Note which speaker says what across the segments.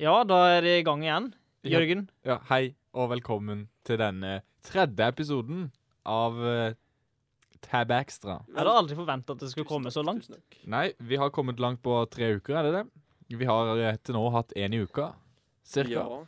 Speaker 1: Ja, da er det i gang igjen.
Speaker 2: Ja.
Speaker 1: Jørgen.
Speaker 2: Ja, hei og velkommen til denne tredje episoden av eh, Tab Extra.
Speaker 1: Jeg hadde aldri forventa at det skulle komme så langt.
Speaker 2: Nei, vi har kommet langt på tre uker, er det det? Vi har eh, til nå hatt én i uka, cirka.
Speaker 3: Ja.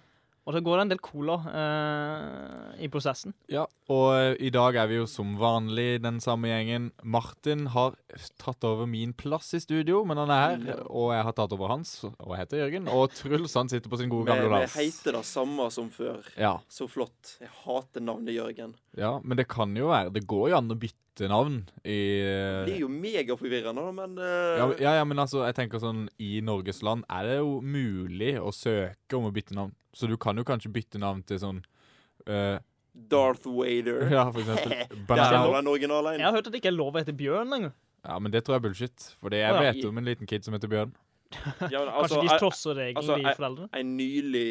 Speaker 1: Og det går en del cola eh, i prosessen.
Speaker 2: Ja, og eh, i dag er vi jo som vanlig den samme gjengen. Martin har tatt over min plass i studio, men han er her. Og jeg har tatt over hans, og jeg heter Jørgen. Og Truls han sitter på sin gode
Speaker 3: Vi,
Speaker 2: gamle
Speaker 3: vi
Speaker 2: plass.
Speaker 3: heter det samme som før.
Speaker 2: Ja,
Speaker 3: Så flott. Jeg hater navnet Jørgen.
Speaker 2: ja, men det kan jo være Det går jo an å bytte navn i eh,
Speaker 3: Det er jo megaforvirrende, da, men eh,
Speaker 2: ja, ja, ja, men altså, jeg tenker sånn I Norges land er det jo mulig å søke om å bytte navn. Så du kan jo kanskje bytte navn til sånn eh,
Speaker 3: Darth Vader.
Speaker 2: Ja, for eksempel
Speaker 3: Der har du
Speaker 2: Banana.
Speaker 3: den originale
Speaker 1: Jeg har
Speaker 3: en.
Speaker 1: hørt at det ikke er lov å hete Bjørn lenger.
Speaker 2: Ja, men det tror jeg er bullshit. Fordi jeg
Speaker 1: Å, ja.
Speaker 2: vet om en liten kid som heter Bjørn.
Speaker 3: Ja, men
Speaker 1: Kanskje
Speaker 3: altså,
Speaker 1: de
Speaker 3: en,
Speaker 1: trosser regelen,
Speaker 3: altså,
Speaker 1: de
Speaker 3: jeg-
Speaker 1: foreldrene.
Speaker 3: en nylig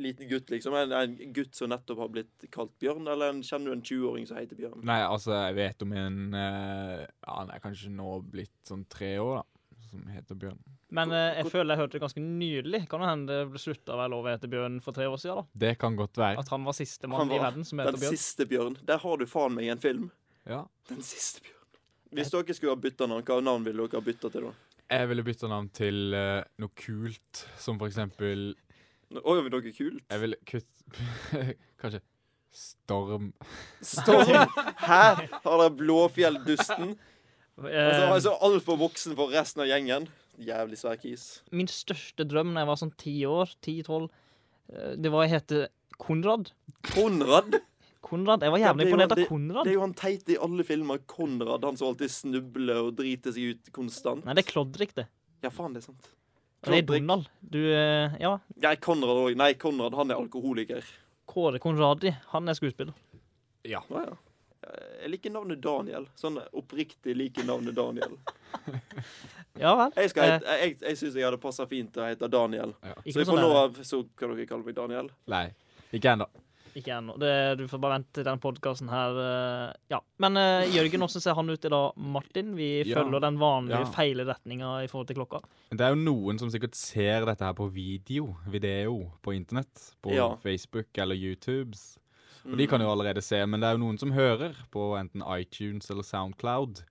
Speaker 3: liten gutt, liksom. En, en gutt som nettopp har blitt kalt Bjørn, eller en, kjenner du en 20-åring som heter Bjørn?
Speaker 2: Nei, altså, jeg vet om en eh, Ja, han er kanskje nå blitt sånn tre år, da. Som heter Bjørn.
Speaker 1: Men eh, jeg
Speaker 3: hvor-
Speaker 1: føler jeg hørte det ganske nydelig. Kan jo hende det ble slutta å være lov å hete Bjørn for tre år siden. da.
Speaker 2: Det kan godt være.
Speaker 1: At han var sistemann i
Speaker 3: Han var
Speaker 1: verden som
Speaker 3: Den
Speaker 1: heter Bjørn.
Speaker 3: siste Bjørn. Der har du faen meg en film.
Speaker 2: Ja.
Speaker 3: Den siste Bjørn. Hvis dere skulle ha bytta navn, hva navn ville dere ha bytta til da?
Speaker 2: Jeg ville bytta navn til eh, noe kult, som for eksempel
Speaker 3: Nå- Oi, var dere kult?
Speaker 2: Jeg ville kutt... Kanskje Storm
Speaker 3: Storm! Her har dere Blåfjell-dusten. Og så
Speaker 1: Eh,
Speaker 3: var jeg så altfor voksen for resten av gjengen. Jævlig svær kis.
Speaker 1: Eh, min største drøm da jeg var sånn ti år, ti-tolv, det var å hete Konrad.
Speaker 3: Konrad?
Speaker 1: Konrad. Jeg var
Speaker 3: Ja,
Speaker 1: jævlig
Speaker 3: det er jo-
Speaker 1: imponert av Konrad.
Speaker 3: Det er jo han teite i alle filmer. Konrad, han som alltid snubler og driter seg ut konstant.
Speaker 1: Nei, det er Klodrik, det.
Speaker 3: Ja, faen, det er sant.
Speaker 1: Det er
Speaker 3: Klodrik.
Speaker 1: Donald. Du, eh, ja.
Speaker 3: Nei, Konrad òg. Nei, Konrad, han er alkoholiker.
Speaker 1: Kåre Konradi, han er skuespiller.
Speaker 2: Ja.
Speaker 3: Å ja. Jeg liker navnet Daniel. Sånn oppriktig liker navnet Daniel.
Speaker 1: Ja vel.
Speaker 3: Jeg, skal hete- jeg, jeg syns jeg hadde passa fint til å hete Daniel.
Speaker 1: Ikke noe
Speaker 3: Så fra
Speaker 1: sånn
Speaker 3: nå
Speaker 1: der.
Speaker 3: av så kan dere kalle meg Daniel.
Speaker 2: Nei, ikke ennå.
Speaker 1: Ikke ennå. Det- Du får bare vente til den podkasten her. eh, Ja. Men eh, Jørgen, hvordan ser han ut i dag, Martin? Vi
Speaker 2: Ja.
Speaker 1: følger den vanlige
Speaker 2: Ja.
Speaker 1: feile retninga i forhold til klokka.
Speaker 2: Men Det er jo noen som sikkert ser dette her på video, video på internett. På
Speaker 3: Ja.
Speaker 2: Facebook eller YouTubes. Og
Speaker 3: Mm.
Speaker 2: de kan jo allerede se, men det er jo noen som hører på enten iTunes eller Soundcloud.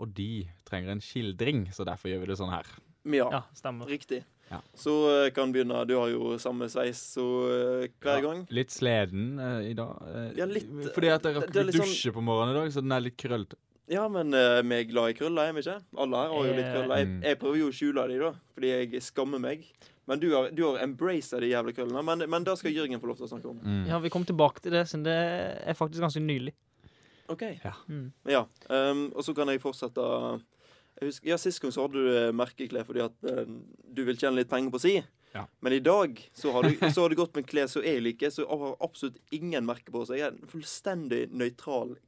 Speaker 2: Og de trenger en skildring, så derfor gjør vi det sånn her.
Speaker 3: Mia.
Speaker 1: Ja, stemmer.
Speaker 3: Riktig.
Speaker 2: Ja.
Speaker 3: Så eh, kan begynne. Du har jo samme sveis så eh, hver
Speaker 2: Ja,
Speaker 3: gang.
Speaker 2: Litt sleden eh, i dag. eh,
Speaker 3: Ja, litt,
Speaker 2: fordi at jeg
Speaker 3: det-
Speaker 2: rakk
Speaker 3: det er
Speaker 2: ikke
Speaker 3: litt
Speaker 2: dusje
Speaker 3: sånn
Speaker 2: på morgenen i dag, så den er litt krøllete.
Speaker 3: Ja, men eh, vi er glad i krøller, er vi ikke? Alle her har jo litt
Speaker 1: Eh.
Speaker 3: krøller. Jeg,
Speaker 2: Mm.
Speaker 3: jeg prøver jo å skjule de da, fordi jeg skammer meg. Men du har, du har embracet de jævla krøllene. Men, men det skal Jørgen få lov til å snakke om.
Speaker 2: Mm.
Speaker 1: Ja, Vi kom tilbake til det, siden det er faktisk ganske nylig.
Speaker 3: OK.
Speaker 1: Mm.
Speaker 3: Ja. ehm, og så kan jeg fortsette. Jeg husker, ja, Sist gang så hadde du eh, merkeklær fordi at eh, du vil tjene litt penger på si.
Speaker 2: Ja.
Speaker 3: Men i dag så har, du, så har du gått med klær som jeg liker, som har absolutt ingen merker på seg. Jeg er En fullstendig nøytral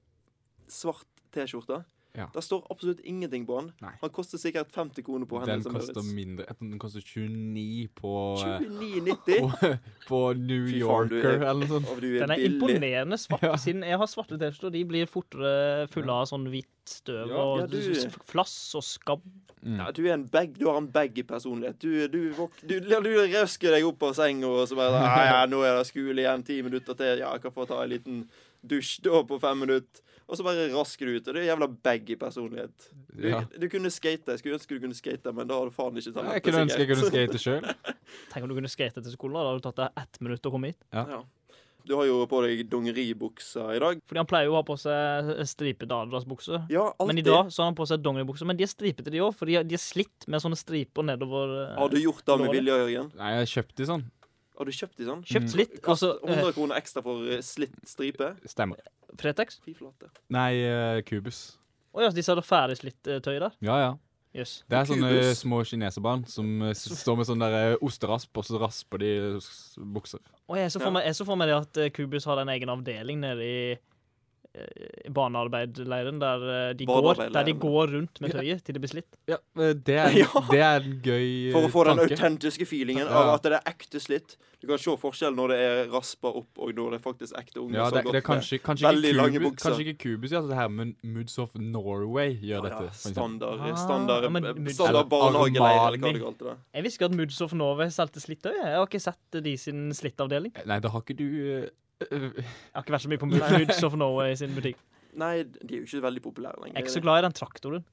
Speaker 3: svart T-skjorte.
Speaker 2: Ja.
Speaker 3: Det står absolutt ingenting på den.
Speaker 2: Nei.
Speaker 3: Han koster sikkert 50 kroner på
Speaker 2: Den
Speaker 3: Hennes
Speaker 2: koster mindre. jeg tror Den koster 29 på eh,
Speaker 3: 29,90.
Speaker 2: på, på New
Speaker 3: Fy faen, du er-
Speaker 2: Yorker eller noe sånt.
Speaker 3: Og du er,
Speaker 1: Den er
Speaker 3: billig.
Speaker 1: imponerende svart,
Speaker 2: Ja.
Speaker 1: siden jeg har svarte T-skjorter. De blir fortere fulle av sånn hvitt støv
Speaker 2: Ja,
Speaker 1: og
Speaker 3: ja, du-
Speaker 1: s- flass og skabb.
Speaker 2: Mm.
Speaker 3: Ja, du er en bag, du har en baggy personlighet. Du, du, våk- du, du, røsker deg opp av senga og så bare Ja, ja, nå er det skole igjen, ti minutter til. Ja, jeg kan få ta en liten dusj da på fem minutter. Og så bare rasker du ut. Og det er en jævla baggy personlighet. Du,
Speaker 2: Ja.
Speaker 3: du kunne skate. Jeg skulle ønske du kunne skate, men da har du faen ikke talent.
Speaker 2: Jeg kunne ønske jeg kunne skate sjøl.
Speaker 1: Tenk om du kunne skate til skolen. Da hadde det tatt deg ett minutt å komme hit.
Speaker 3: Ja. Du har jo på deg dongeribuksa i dag.
Speaker 1: Fordi han pleier jo å ha på seg stripete Adidas-bukse.
Speaker 3: Ja, alltid.
Speaker 1: Men i dag så har han på seg dongeribukser. Men de er stripete, de òg, for de er, de er slitt med sånne striper nedover. eh,
Speaker 3: Har du gjort det med
Speaker 1: Dårlig.
Speaker 3: vilje, Jørgen?
Speaker 2: Nei, jeg kjøpte sånn.
Speaker 3: Har du kjøpt de sånn?
Speaker 1: Kjøpt slitt. Altså, eh,
Speaker 3: 100 kroner ekstra for eh, slitt stripe?
Speaker 2: Stemmer.
Speaker 1: Fretex.
Speaker 3: Fy flate.
Speaker 2: Nei, eh, kubus.
Speaker 1: Å ja, de hadde ferdig slitt eh, tøy der.
Speaker 2: Ja, ja.
Speaker 1: Jøss.
Speaker 2: Det er sånne
Speaker 3: Kubus.
Speaker 2: små kineserbarn som eh, s- står med sånn der eh, osterasp, og så rasper de eh, s- bukser.
Speaker 1: Og jeg så for
Speaker 3: Ja.
Speaker 1: meg, jeg så for meg det at eh, Kubus hadde en egen avdeling nede i eh, barnearbeiderleiren der, eh, de går- der de
Speaker 3: Barnearbeiderleiren.
Speaker 1: går rundt med tøyet til det blir slitt.
Speaker 2: Ja, eh, det er,
Speaker 3: Ja.
Speaker 2: det er en gøy eh,
Speaker 3: For å få den
Speaker 2: tanke.
Speaker 3: autentiske feelingen
Speaker 2: Ja.
Speaker 3: av at det er ekte slitt. Du kan se forskjell når det er raspa opp, og når det er faktisk ekte unger.
Speaker 2: Ja,
Speaker 3: som
Speaker 2: det, det er
Speaker 3: har gått sånn med-
Speaker 2: kanskje, kanskje,
Speaker 3: veldig
Speaker 2: ikke
Speaker 3: lange
Speaker 2: Kubus,
Speaker 3: bukser.
Speaker 2: kanskje ikke Kubus gjør det her, men Moods of Norway gjør
Speaker 3: Ja, sånn.
Speaker 2: dette.
Speaker 3: ja,
Speaker 2: for eksempel.
Speaker 3: standard,
Speaker 1: Ah,
Speaker 3: standard,
Speaker 1: ja, men-
Speaker 3: standard barnehageleir, eller hva
Speaker 2: Armani.
Speaker 3: det kalte det.
Speaker 1: Jeg visste ikke at Moods of Norway solgte slitt tøy. Jeg har ikke sett de sin slittavdeling.
Speaker 2: Nei, da har ikke du eh,
Speaker 1: Jeg har ikke vært så mye på Moods of Norway sin butikk.
Speaker 3: Nei, de er jo ikke veldig populære lenger.
Speaker 1: Jeg er ikke så glad i den traktoren.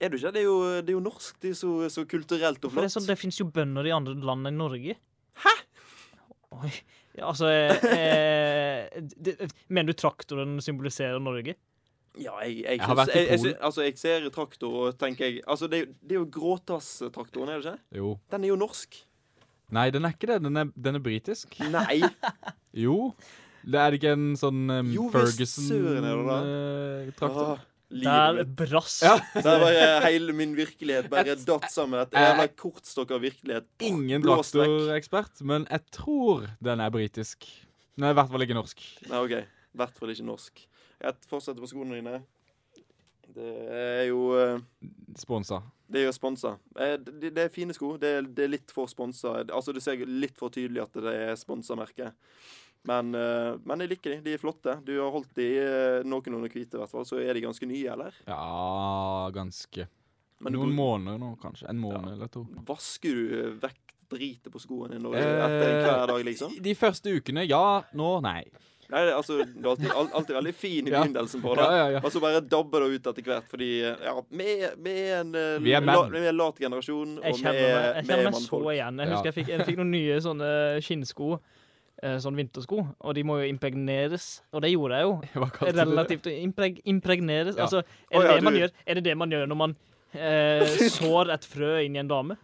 Speaker 3: Er du ikke? Det er jo, det er jo norsk. Det er så, så kulturelt og
Speaker 1: For det,
Speaker 3: flott.
Speaker 1: er sånn, det finnes jo bønder i andre land enn Norge. Hæ? Oi. Ja, altså eh, eh, det, Mener du traktoren symboliserer Norge?
Speaker 3: Ja, jeg, jeg,
Speaker 2: Jeg har
Speaker 3: syns-
Speaker 2: vært i
Speaker 3: jeg, jeg,
Speaker 2: Polen.
Speaker 3: syns- altså, jeg ser traktor og tenker jeg, altså, det, er jo- det er jo gråtasstraktoren, er det ikke?
Speaker 2: Jo.
Speaker 3: Den er jo norsk.
Speaker 2: Nei, den er ikke det. Den er, den er britisk.
Speaker 3: Nei.
Speaker 2: Jo. Det er ikke en sånn um,
Speaker 3: Jo, visst, søren er det da.
Speaker 2: Ferguson-traktor.
Speaker 3: Ah, livet
Speaker 1: Der
Speaker 3: mitt.
Speaker 1: brast
Speaker 2: Ja.
Speaker 3: Der var hele min virkelighet bare datt sammen. Et jævla kortstokk av virkelighet.
Speaker 2: Eh, Ingen
Speaker 3: Blåst vekk.
Speaker 2: traktorekspert, men jeg tror den er britisk. Nei, i hvert fall ikke norsk.
Speaker 3: Nei, OK. I hvert fall ikke norsk. Jeg fortsetter på skoene dine. Det er jo eh,
Speaker 2: Sponsa.
Speaker 3: Det er jo sponsa. Eh, Det, det er fine sko. Det, er- det er litt for sponsa. Altså, du ser litt for tydelig at det er sponsa merke. Men, eh, men jeg liker de. De er flotte. Du har holdt de eh, noen under hvite, i hvert fall. Så er de ganske nye, eller?
Speaker 2: Ja, ganske.
Speaker 3: Men du
Speaker 2: Noen
Speaker 3: bruk-
Speaker 2: måneder nå, kanskje. En måned
Speaker 3: Ja.
Speaker 2: eller to.
Speaker 3: vasker du vekk dritet på skoene dine når-
Speaker 2: Eh,
Speaker 3: etter en hver dag, liksom?
Speaker 2: De første ukene, ja. Nå, nei.
Speaker 3: Nei, det, er altså, det er alltid, al- alltid veldig fin i
Speaker 2: Ja.
Speaker 3: begynnelsen på det.
Speaker 2: Ja, ja, ja.
Speaker 3: Og så bare dabber det ut etter hvert, fordi eh, ja, vi er- vi er en eh,
Speaker 2: Vi er
Speaker 3: la,
Speaker 2: menn.
Speaker 3: vi er en lat generasjon, og
Speaker 1: Jeg
Speaker 3: vi
Speaker 1: kjenner meg,
Speaker 3: er,
Speaker 1: jeg
Speaker 3: vi
Speaker 1: kjenner
Speaker 3: er
Speaker 1: meg så
Speaker 3: mannfolk.
Speaker 1: igjen. Jeg
Speaker 2: Ja.
Speaker 1: husker jeg fikk, jeg fikk noen nye sånne skinnsko. eh, Sånn vintersko. Og de må jo impregneres. Og det gjorde jeg jo.
Speaker 2: Hva kalte du det?
Speaker 1: Relativt impreg, impregneres.
Speaker 2: Ja.
Speaker 1: Altså,
Speaker 3: Å,
Speaker 1: er det,
Speaker 3: ja,
Speaker 1: det man
Speaker 3: du-
Speaker 1: gjør, er det det man gjør når man eh, sår et frø inn i en dame?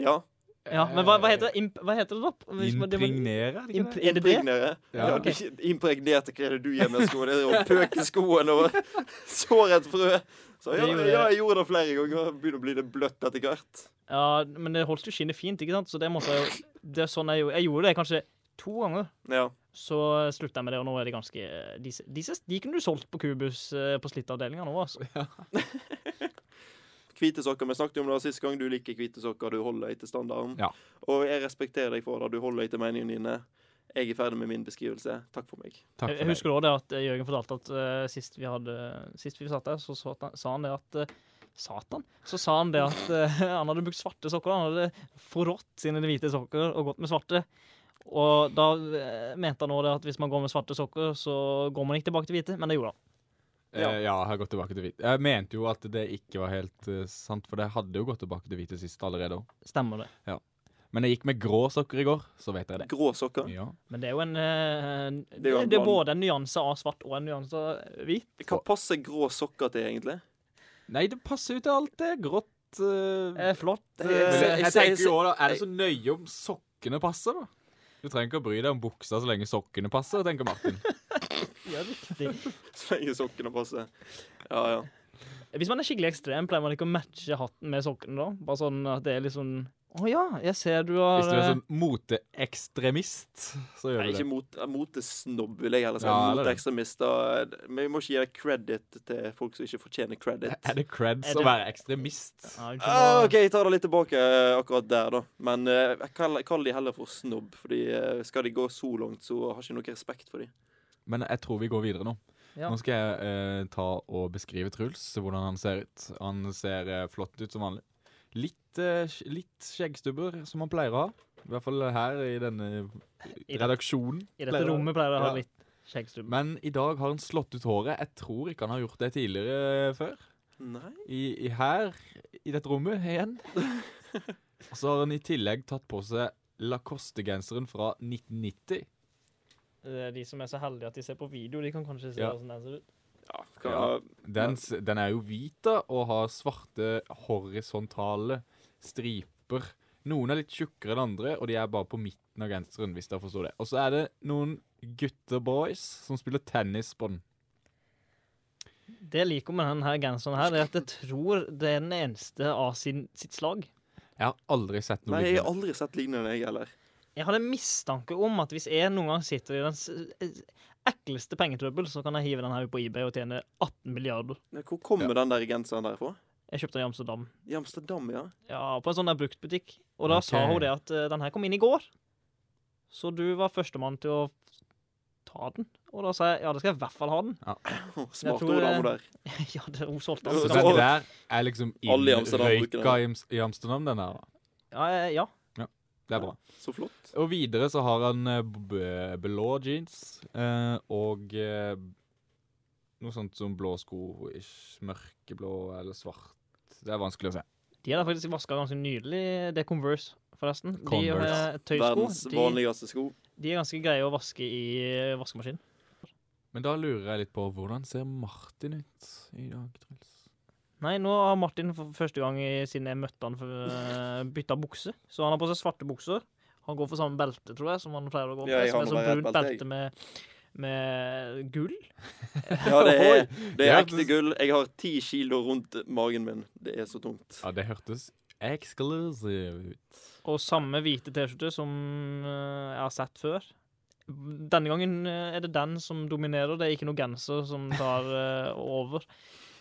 Speaker 3: Ja.
Speaker 1: Ja, Men hva, hva, heter, det? Imp, hva heter det da? Hvis man- det man-
Speaker 2: Impregnere, er det ikke
Speaker 1: Impre-
Speaker 2: det?
Speaker 1: Er det det?
Speaker 3: Impregnere.
Speaker 2: Ja.
Speaker 3: Ja,
Speaker 1: Ok.
Speaker 3: du- Impregnerte hva er det du gjør med skoene? Det er Å pøke skoen og såre et frø. Så ja,
Speaker 1: Det gjorde jeg.
Speaker 3: ja, jeg gjorde det flere ganger. Begynner å bli litt bløtt etter hvert.
Speaker 1: Ja, men det holdt jo skinnet fint, ikke sant? Så det måtte jeg jo Det er sånn jeg gjorde. Jeg gjorde det kanskje to ganger.
Speaker 3: Ja.
Speaker 1: Så slutta jeg med det, og nå er det ganske eh, De, de, de kunne du solgt på Kubus eh, på slittavdelinga nå, altså.
Speaker 3: Hvite sokker. Vi snakket jo om det sist gang. Du liker hvite sokker. Du holder deg til standarden.
Speaker 2: Ja.
Speaker 3: Og jeg respekterer deg for det. Du holder deg til meningene dine. Jeg er ferdig med min beskrivelse. Takk for meg.
Speaker 2: Takk
Speaker 1: Jeg, jeg
Speaker 2: for det.
Speaker 1: husker også det at eh, Jørgen fortalte at eh, sist vi hadde Sist vi satt der, så, så han- sa han det at eh, Satan. Så sa han det at eh, han hadde brukt svarte sokker. Han hadde forrådt sine hvite sokker og gått med svarte. Og da eh, mente han også det at hvis man går med svarte sokker, så går man ikke tilbake til hvite, men det gjorde han.
Speaker 2: Eh, Ja. ja, jeg har gått tilbake til hvit. Jeg mente jo at det ikke var helt eh, sant, for det hadde jo gått tilbake til hvite sist allerede òg.
Speaker 1: Stemmer det.
Speaker 2: Men jeg gikk med grå sokker i går, så vet jeg det.
Speaker 3: Grå sokker.
Speaker 2: Ja.
Speaker 1: Men det er jo en eh,
Speaker 3: Det
Speaker 1: Det
Speaker 3: er jo
Speaker 1: er,
Speaker 3: en bland-
Speaker 1: både en nyanse av svart og en nyanse av hvit.
Speaker 3: Hva passer grå sokker til, egentlig?
Speaker 2: Nei, det passer jo til alt det. Grått eh,
Speaker 1: Eh, flott.
Speaker 3: Jeg-
Speaker 2: Men
Speaker 1: Eh,
Speaker 2: jeg, jeg tenker jo også, da, Er det
Speaker 3: jeg-
Speaker 2: så nøye om sokkene passer, da? Du trenger ikke å bry deg om buksa så lenge sokkene passer, tenker Martin.
Speaker 1: ja, riktig.
Speaker 3: Så lenge sokkene passer. Ja, ja.
Speaker 1: Hvis man er skikkelig ekstrem, pleier man ikke å matche hatten med sokkene da? Bare sånn at det er litt sånn Å ja, jeg ser du har
Speaker 2: Hvis du er
Speaker 1: eh,
Speaker 2: sånn moteekstremist, så gjør
Speaker 3: Nei,
Speaker 2: du
Speaker 3: ikke
Speaker 2: det.
Speaker 3: mot, motesnobb, vil jeg heller si.
Speaker 2: Ja,
Speaker 3: Ja,
Speaker 2: eller det.
Speaker 3: Moteekstremister. Men vi må ikke gi deg credit til folk som ikke fortjener credit.
Speaker 2: Er det creds
Speaker 1: Er det-
Speaker 2: å være ekstremist?
Speaker 1: ja, unnskyld,
Speaker 3: Ah,
Speaker 1: nå-
Speaker 3: OK, jeg tar det litt tilbake eh, akkurat der, da. Men eh, jeg kall, kall de heller for snobb, Fordi eh, skal de gå så langt, så har jeg ikke noe respekt for de.
Speaker 2: Men jeg tror vi går videre nå.
Speaker 1: Ja.
Speaker 2: Nå skal jeg eh, ta og beskrive Truls, hvordan han ser ut. Han ser eh, flott ut som vanlig. Litt, eh, sk- litt skjeggstubber, som han pleier å ha. I hvert fall her i denne
Speaker 1: I-
Speaker 2: redaksjonen.
Speaker 1: I dette rommet pleier det å ha
Speaker 2: Ja.
Speaker 1: litt skjeggstubb.
Speaker 2: Men i dag har han slått ut håret. Jeg tror ikke han har gjort det tidligere eh, før.
Speaker 3: Nei?
Speaker 2: I, i her, i dette rommet igjen. Og så har han i tillegg tatt på seg Lacoste-genseren fra 1990.
Speaker 1: Eh, De som er så heldige at de ser på video, de kan kanskje se
Speaker 2: Ja.
Speaker 1: hvordan den ser ut.
Speaker 3: Ja, hva,
Speaker 2: Ja. Den, s- den er jo hvit da, og har svarte horisontale striper. Noen er litt tjukkere enn andre, og de er bare på midten av genseren. hvis jeg forstår det. Og så er det noen gutteboys som spiller tennis på den.
Speaker 1: Det jeg liker med denne genseren her, er at jeg tror det er den eneste av sin, sitt slag.
Speaker 2: Jeg har aldri sett noe
Speaker 3: Nei, jeg har
Speaker 2: lignende.
Speaker 3: aldri sett lignende, jeg heller.
Speaker 1: Jeg hadde en mistanke om at hvis jeg noen gang sitter i den s- ekleste pengetrøbbel, så kan jeg hive den her ut på eBay og tjene 18 milliarder.
Speaker 3: Nei, Hvor kommer den der genseren der fra?
Speaker 1: Jeg kjøpte den i Amsterdam.
Speaker 3: I Amsterdam, ja.
Speaker 1: Ja, på en sånn der bruktbutikk. Og da sa
Speaker 2: Ok.
Speaker 1: hun det at eh, den her kom inn i går, så du var førstemann til å ta den. Og da sa jeg ja, da skal jeg i hvert fall ha den.
Speaker 3: Åh, Smart
Speaker 1: tror,
Speaker 3: ord,
Speaker 1: eh,
Speaker 3: dame der.
Speaker 1: ja, det, hun solgte
Speaker 3: Så
Speaker 1: den.
Speaker 2: Så
Speaker 3: det-
Speaker 2: den der er liksom
Speaker 3: Alle i Amsterdam bruker
Speaker 2: innrøyka i Ams- i Amsterdam, den der. da.
Speaker 1: Ja, eh, ja.
Speaker 2: Det er bra.
Speaker 3: Så flott.
Speaker 2: Og videre så har han eh, b- b- blå jeans eh, og eh, noe sånt som blå sko, ish, mørkeblå eller svart. Det er vanskelig å se.
Speaker 1: De er da faktisk vaska ganske nylig. Det er Converse, forresten. De
Speaker 2: Converse.
Speaker 1: eh, tøysko.
Speaker 3: Verdens
Speaker 1: De,
Speaker 3: vanligste sko.
Speaker 1: de er ganske greie å vaske i eh, vaskemaskin.
Speaker 2: Men da lurer jeg litt på hvordan ser Martin ut i dag, Truls?
Speaker 1: Nei, nå har Martin for første gang i- siden jeg møtte han for, eh, bytta bukse. Så han har på seg svarte bukser. Han går for samme belte, tror jeg, som han pleier å gå for.
Speaker 3: Ja, jeg
Speaker 1: som er
Speaker 3: har nå
Speaker 1: sånn
Speaker 3: bare ett
Speaker 1: brunt
Speaker 3: belte, jeg.
Speaker 1: belte med, med gull.
Speaker 3: Ja, det er, det er
Speaker 2: Ja,
Speaker 3: ekte gull. Jeg har ti kilo rundt magen min. Det er så tungt.
Speaker 2: Ja, det hørtes exclusive ut.
Speaker 1: Og samme hvite T-skjorte som eh, jeg har sett før. Denne gangen eh, er det den som dominerer, det er ikke noe genser som tar eh, over.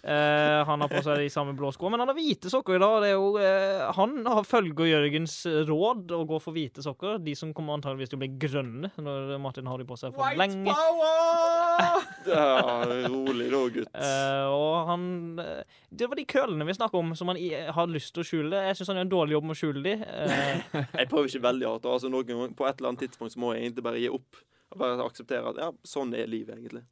Speaker 1: Eh, han har på seg de samme blå skoene, men han har hvite sokker i dag. og Det er jo, eh, han har følger Jørgens råd og går for hvite sokker. De som kommer antageligvis til å bli grønne når Martin har de på seg for lenge.
Speaker 2: power!
Speaker 3: Ja, rolig nå, gutt.
Speaker 1: Eh, og han eh, Det var de kølene vi snakka om, som han i, har lyst til å skjule. Jeg syns han gjør en dårlig jobb med å skjule de. Eh,
Speaker 3: Jeg prøver ikke veldig hardt. Altså, noen, ganger- på et eller annet tidspunkt så må jeg egentlig bare gi opp. Og bare akseptere at ja, sånn er livet, egentlig.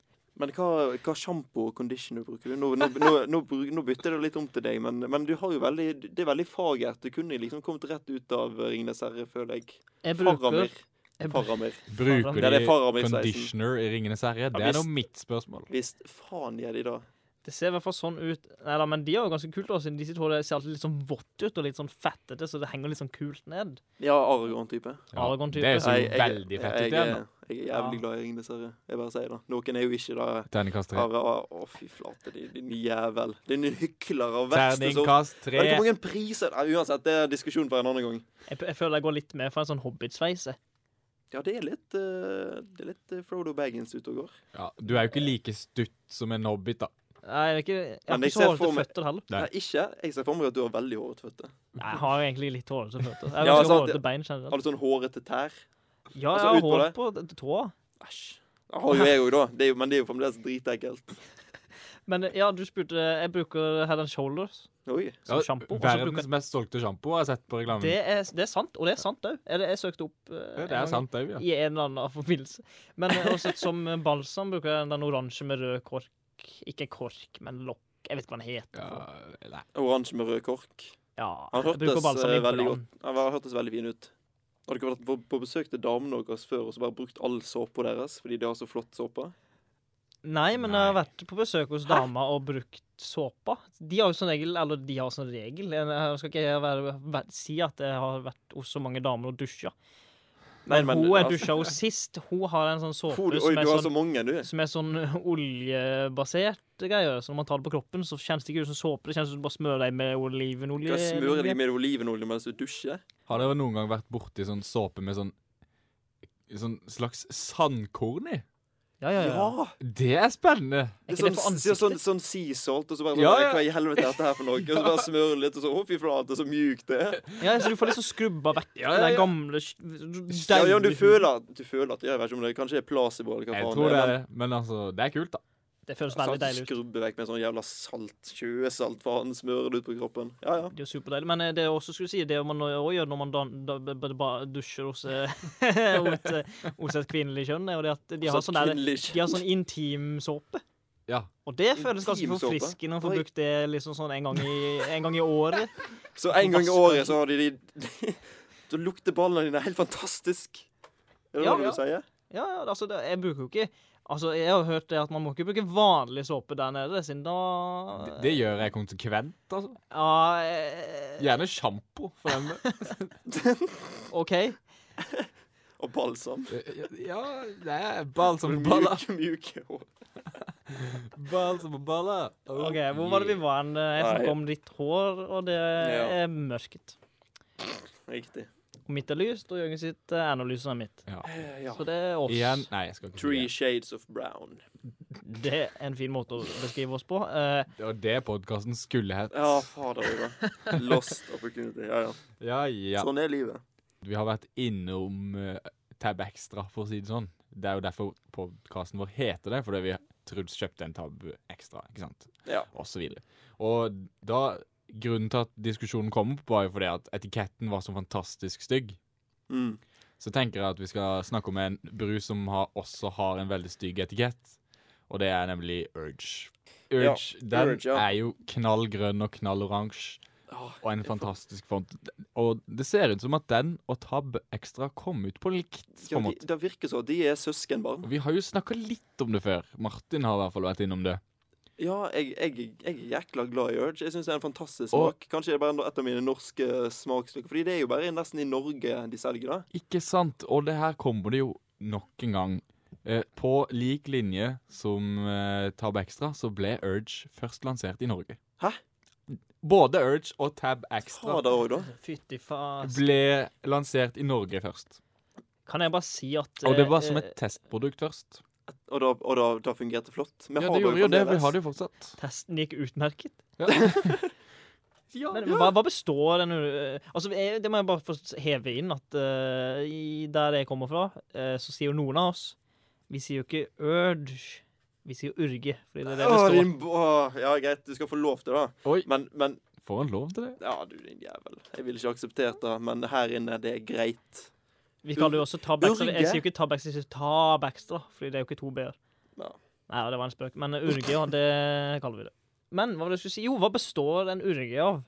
Speaker 3: Men hva, hva sjampo og conditioner bruker du? Nå, nå, nå, nå, bruk- nå bytter jeg litt om til deg, men, men du har jo veldig, det er veldig fagert. Du kunne liksom kommet rett ut av Ringnes Herre, føler jeg.
Speaker 1: jeg bruker
Speaker 3: Faramir.
Speaker 1: jeg br-
Speaker 3: Faramir.
Speaker 2: Bruker
Speaker 3: Ja, det er
Speaker 2: de
Speaker 3: Faramir sveisen
Speaker 2: conditioner i Ringenes herre? Det
Speaker 3: visst.
Speaker 2: er nå mitt spørsmål.
Speaker 3: Visst faen gjør de det.
Speaker 1: Det ser i hvert fall sånn ut. Nei da, men de er jo ganske kult, da, siden de sitt hår ser alltid litt sånn vått ut og litt sånn fettete, så det henger litt sånn kult ned.
Speaker 3: Ja, Aragon-type.
Speaker 2: Ja,
Speaker 1: Aragon-type.
Speaker 2: det ser
Speaker 3: Nei,
Speaker 2: jo veldig fett ut
Speaker 3: jeg,
Speaker 2: igjen. da.
Speaker 3: er- Jeg er jævlig
Speaker 1: Ja.
Speaker 3: glad i Ringnes Herre. Jeg bare sier det. Noen er jo ikke det.
Speaker 2: Terningkast tre.
Speaker 3: Are, å, å, fy flate, din, din jævel. Din hykler av verste sort.
Speaker 2: Terningkast
Speaker 3: Men
Speaker 2: tre.
Speaker 3: Hvor mange priser Nei, Uansett, det er diskusjon for en annen gang.
Speaker 1: Jeg, jeg føler jeg går litt mer for en sånn hobbitsveise.
Speaker 3: Ja, det er litt eh, Det er litt eh, Frodo Baggins ute og går.
Speaker 2: Ja, du er jo ikke like stutt som en hobbit, da.
Speaker 1: Nei, jeg, er ikke, jeg har
Speaker 3: Men jeg
Speaker 1: ikke så
Speaker 3: ser for
Speaker 1: hårete
Speaker 3: meg-
Speaker 1: føtter heller.
Speaker 2: Nei.
Speaker 3: Nei, ikke. Jeg ser for meg at du har veldig hårete føtter.
Speaker 1: Nei, jeg har egentlig litt hårete føtter. Jeg har
Speaker 3: Ja,
Speaker 1: ganske
Speaker 3: sant,
Speaker 1: hårete
Speaker 3: det-
Speaker 1: bein generelt.
Speaker 3: Har du sånn hårete tær?
Speaker 1: Ja,
Speaker 3: altså,
Speaker 1: jeg har
Speaker 3: ut på
Speaker 1: hår
Speaker 3: det.
Speaker 1: på d- tåa.
Speaker 3: Æsj. Det har jo jeg òg, da. Det er jo, men det er jo fremdeles dritekkelt.
Speaker 1: Men eh, ja, du spurte Jeg bruker Head and Shoulders
Speaker 3: Oi.
Speaker 1: som
Speaker 2: Ja,
Speaker 1: sjampo. og så bruker
Speaker 2: Verdens mest solgte sjampo har jeg sett på
Speaker 1: jeg-
Speaker 2: reklamen.
Speaker 1: Det er, det er sant, og det er sant òg. Jeg, jeg søkte opp eh,
Speaker 2: Ja,
Speaker 1: en
Speaker 2: det
Speaker 1: gang
Speaker 2: er sant, det òg, ja.
Speaker 1: i en eller annen forbindelse. Men eh, også som eh, balsam bruker jeg den oransje med rød kork. Ikke kork, men lokk. Jeg vet ikke hva den heter.
Speaker 2: ja.
Speaker 1: for.
Speaker 2: Nei.
Speaker 3: Oransje med rød kork.
Speaker 1: Ja,
Speaker 3: Han
Speaker 1: jeg bruker
Speaker 3: hørtes
Speaker 1: balsam
Speaker 3: eh,
Speaker 1: altså inn på
Speaker 3: veldig
Speaker 1: dagen.
Speaker 3: godt Han var- hørtes veldig fin ut. Har dere vært på, på besøk til damene deres før og så bare brukt all såpa deres fordi de har så flott såpe?
Speaker 1: Nei, men jeg har
Speaker 2: Nei.
Speaker 1: vært på besøk hos dama og brukt såpa. De har jo som regel, eller de har som regel eh, Jeg skal ikke være, være, si at jeg har vært hos så mange damer og dusja. Men,
Speaker 3: men,
Speaker 1: hun jeg
Speaker 3: altså-
Speaker 1: dusja hos sist, hun har en sånn såpe
Speaker 3: Oi,
Speaker 1: som
Speaker 3: du
Speaker 1: er
Speaker 3: har
Speaker 1: sånn
Speaker 3: så mange, du.
Speaker 1: som er sånn oljebasert greier. Så når man tar det på kroppen, så kjennes det ikke ut som såpe. Det kjennes ut som du bare smører deg med
Speaker 3: Du
Speaker 1: olivenolje.
Speaker 3: kan smøre deg med olivenolje mens du dusjer.
Speaker 2: Har dere noen gang vært borti sånn såpe med sånn Sånn slags sandkorn i?
Speaker 1: Ja, ja, ja.
Speaker 3: Ja!
Speaker 2: Det er spennende!
Speaker 1: Er
Speaker 3: Det
Speaker 1: ikke
Speaker 3: er
Speaker 1: det for
Speaker 3: sånn, sånn, sånn,
Speaker 1: ansiktet?
Speaker 3: sånn sea salt, og så bare sånn,
Speaker 2: Ja, ja.
Speaker 3: Hva i helvete er dette her for noe? Og så bare smøre litt, og så Å, fy flate, så mjukt det er.
Speaker 1: Ja, så du får liksom skrubba vekk
Speaker 2: Ja, ja,
Speaker 1: den
Speaker 2: ja.
Speaker 1: gamle
Speaker 3: Ja,
Speaker 1: ja,
Speaker 3: ja, du føler at Du føler at ja, Jeg vet ikke om det kanskje er placebo eller hva
Speaker 2: Jeg
Speaker 3: faen
Speaker 2: tror det er
Speaker 3: men-
Speaker 2: det, men altså Det er kult, da.
Speaker 1: Det føles
Speaker 3: Altså,
Speaker 1: veldig sånn
Speaker 3: at
Speaker 1: deilig
Speaker 3: du
Speaker 1: ut.
Speaker 3: skrubber vekk med sånn jævla salt, sjøsalt, faen, smører det ut på kroppen. Ja, ja.
Speaker 1: Det er jo superdeilig. Men eh, det jeg også skulle si, det man også gjør når man dan- da, b- b- bare dusjer hos, eh, hos, eh, hos et kvinnelig kjønn, er jo det at de har
Speaker 3: Så
Speaker 1: sånn, der-
Speaker 3: Altså, kvinnelig
Speaker 1: de har sånn intimsåpe.
Speaker 2: Ja.
Speaker 1: Og det føles ganske
Speaker 3: Intimsåpe?
Speaker 1: forfriskende å få
Speaker 3: Oi.
Speaker 1: brukt det liksom sånn en gang i, en gang i året.
Speaker 3: Så en gang i
Speaker 1: Vasker.
Speaker 3: året så har de de Da lukter ballene dine helt fantastisk. Er det
Speaker 1: Ja,
Speaker 3: det
Speaker 1: ja.
Speaker 3: du sier?
Speaker 1: Ja, ja, altså, det, jeg bruker jo ikke Altså, jeg har hørt det at man må ikke bruke vanlig såpe der nede, siden da
Speaker 2: Det, det gjør jeg konsekvent, altså.
Speaker 1: Ja, eh,
Speaker 2: Gjerne sjampo, for den del.
Speaker 1: OK.
Speaker 3: Og balsam.
Speaker 2: Ja, det er ball som baller.
Speaker 3: Mjuke, mjuke hår.
Speaker 2: Ball som baller. Oh,
Speaker 1: ok, Hvor var det vi var hen? Jeg
Speaker 3: Nei.
Speaker 1: snakket om ditt hår, og det
Speaker 3: Ja.
Speaker 1: er mørket.
Speaker 3: Riktig.
Speaker 1: Og mitt er lyst, og Jørgen sitt eh, er nå lys og er mitt.
Speaker 2: Ja.
Speaker 3: Eh, ja.
Speaker 1: Så det er oss.
Speaker 2: Igjen Nei, jeg skal ikke si
Speaker 3: Three shades of brown.
Speaker 1: Det er en fin måte å beskrive oss på. Eh,
Speaker 2: det. Det var det podkasten skulle hett.
Speaker 3: Ja, fader Ivar. Lost opportunity. Ja, ja.
Speaker 2: Ja, ja.
Speaker 3: Sånn er livet.
Speaker 2: Vi har vært innom uh, Tab Extra, for å si det sånn. Det er jo derfor podkasten vår heter det, fordi vi Truls kjøpte en Tab Extra, ikke sant?
Speaker 3: Ja.
Speaker 2: Og så videre. Og da Grunnen til at diskusjonen kom opp, var jo fordi at etiketten var så fantastisk stygg.
Speaker 3: Mm.
Speaker 2: Så tenker jeg at vi skal snakke om en brus som har, også har en veldig stygg etikett, og det er nemlig Urge.
Speaker 3: Ja,
Speaker 2: Urge, den
Speaker 3: Urge, ja.
Speaker 2: er jo knall grønn og knall oransje.
Speaker 3: Åh,
Speaker 2: Og en fantastisk font. Og det ser ut som at den og Tab Extra kom ut på likt. på
Speaker 3: Ja,
Speaker 2: en
Speaker 3: de,
Speaker 2: måte.
Speaker 3: det virker så. De er søskenbarn.
Speaker 2: Og Vi har jo snakka litt om det før. Martin har i hvert fall vært innom det.
Speaker 3: Ja, jeg, jeg, jeg er jækla glad i Urge. Jeg syns det er en fantastisk
Speaker 2: Og-
Speaker 3: smak. Kanskje det er bare et av mine norske smaksstykker. Fordi det er jo bare nesten i Norge de selger det.
Speaker 2: Ikke sant? Og det her kommer det jo nok en gang. Eh, på lik linje som eh, Tab Extra, så ble Urge først lansert i Norge.
Speaker 3: Hæ?
Speaker 2: Både Urge og Tab Extra
Speaker 3: Fader altså. òg, da.
Speaker 1: Fytti faen.
Speaker 2: ble lansert i Norge først.
Speaker 1: Kan jeg bare si at
Speaker 2: Og det var
Speaker 1: eh,
Speaker 2: som et testprodukt først.
Speaker 3: Og da, og da, da fungerte det flott. Vi
Speaker 2: Ja,
Speaker 3: har
Speaker 2: det gjorde jo det. Vi
Speaker 3: fremdeles.
Speaker 2: har det jo fortsatt.
Speaker 1: Testen gikk utmerket.
Speaker 2: Ja.
Speaker 1: Men hva, hva består den eh, Altså, jeg, Det må jeg bare få heve inn at eh, i, der jeg kommer fra, eh, så sier jo noen av oss Vi sier jo ikke urge, vi sier jo urge. Fordi det er det
Speaker 3: Åh,
Speaker 1: det står.
Speaker 3: din, åh, ja, greit, du skal få lov til det.
Speaker 2: Oi,
Speaker 3: Men, men
Speaker 2: får han lov til det?
Speaker 3: Ja, du din jævel. Jeg ville ikke akseptert det, men her inne, det er greit.
Speaker 1: Vi kaller jo også tab extra.
Speaker 3: Urge?
Speaker 1: Jeg sier jo ikke tab extra, jeg sier tab extra, fordi det er jo ikke to b-er.
Speaker 3: Ja.
Speaker 1: Nei, det var en spøk. Men urge, ja, det kaller vi det. Men hva var det jeg skulle si? Jo, hva består en urge av?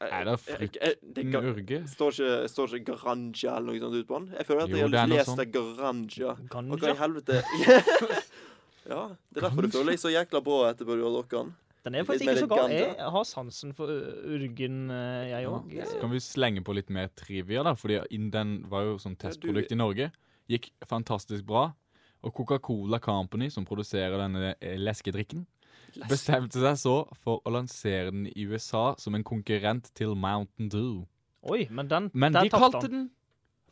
Speaker 2: Er Mm. det
Speaker 3: Jeg- jeg- det
Speaker 2: frukten
Speaker 3: ga-
Speaker 2: urge?
Speaker 3: Står ikke, står ikke garanja eller noe sånt ut på den? Jeg føler at
Speaker 2: Jo,
Speaker 3: jeg
Speaker 2: det er
Speaker 3: har
Speaker 2: noe
Speaker 3: lest
Speaker 2: sånt.
Speaker 3: det garanja. Og hva i
Speaker 1: Ganja?
Speaker 3: helvete Ja, det er derfor du
Speaker 2: Ganja?
Speaker 3: føler deg så jækla bra etterpå du har dere den.
Speaker 1: Den er
Speaker 3: Litt
Speaker 1: faktisk
Speaker 3: mer
Speaker 1: ikke så gal.
Speaker 3: ganja.
Speaker 1: Jeg har sansen for uh, urgen, eh, jeg òg.
Speaker 2: Ja. Så kan vi slenge på litt mer trivia, da, fordi in- den var jo sånn testprodukt i Norge. Gikk fantastisk bra. Og Coca-Cola Company, som produserer denne eh, leskedrikken, bestemte seg så for å lansere den i USA som en konkurrent til Mountain Dew.
Speaker 1: Oi, men den
Speaker 2: Men
Speaker 1: der
Speaker 2: de
Speaker 1: tapte
Speaker 2: kalte
Speaker 1: han.
Speaker 2: den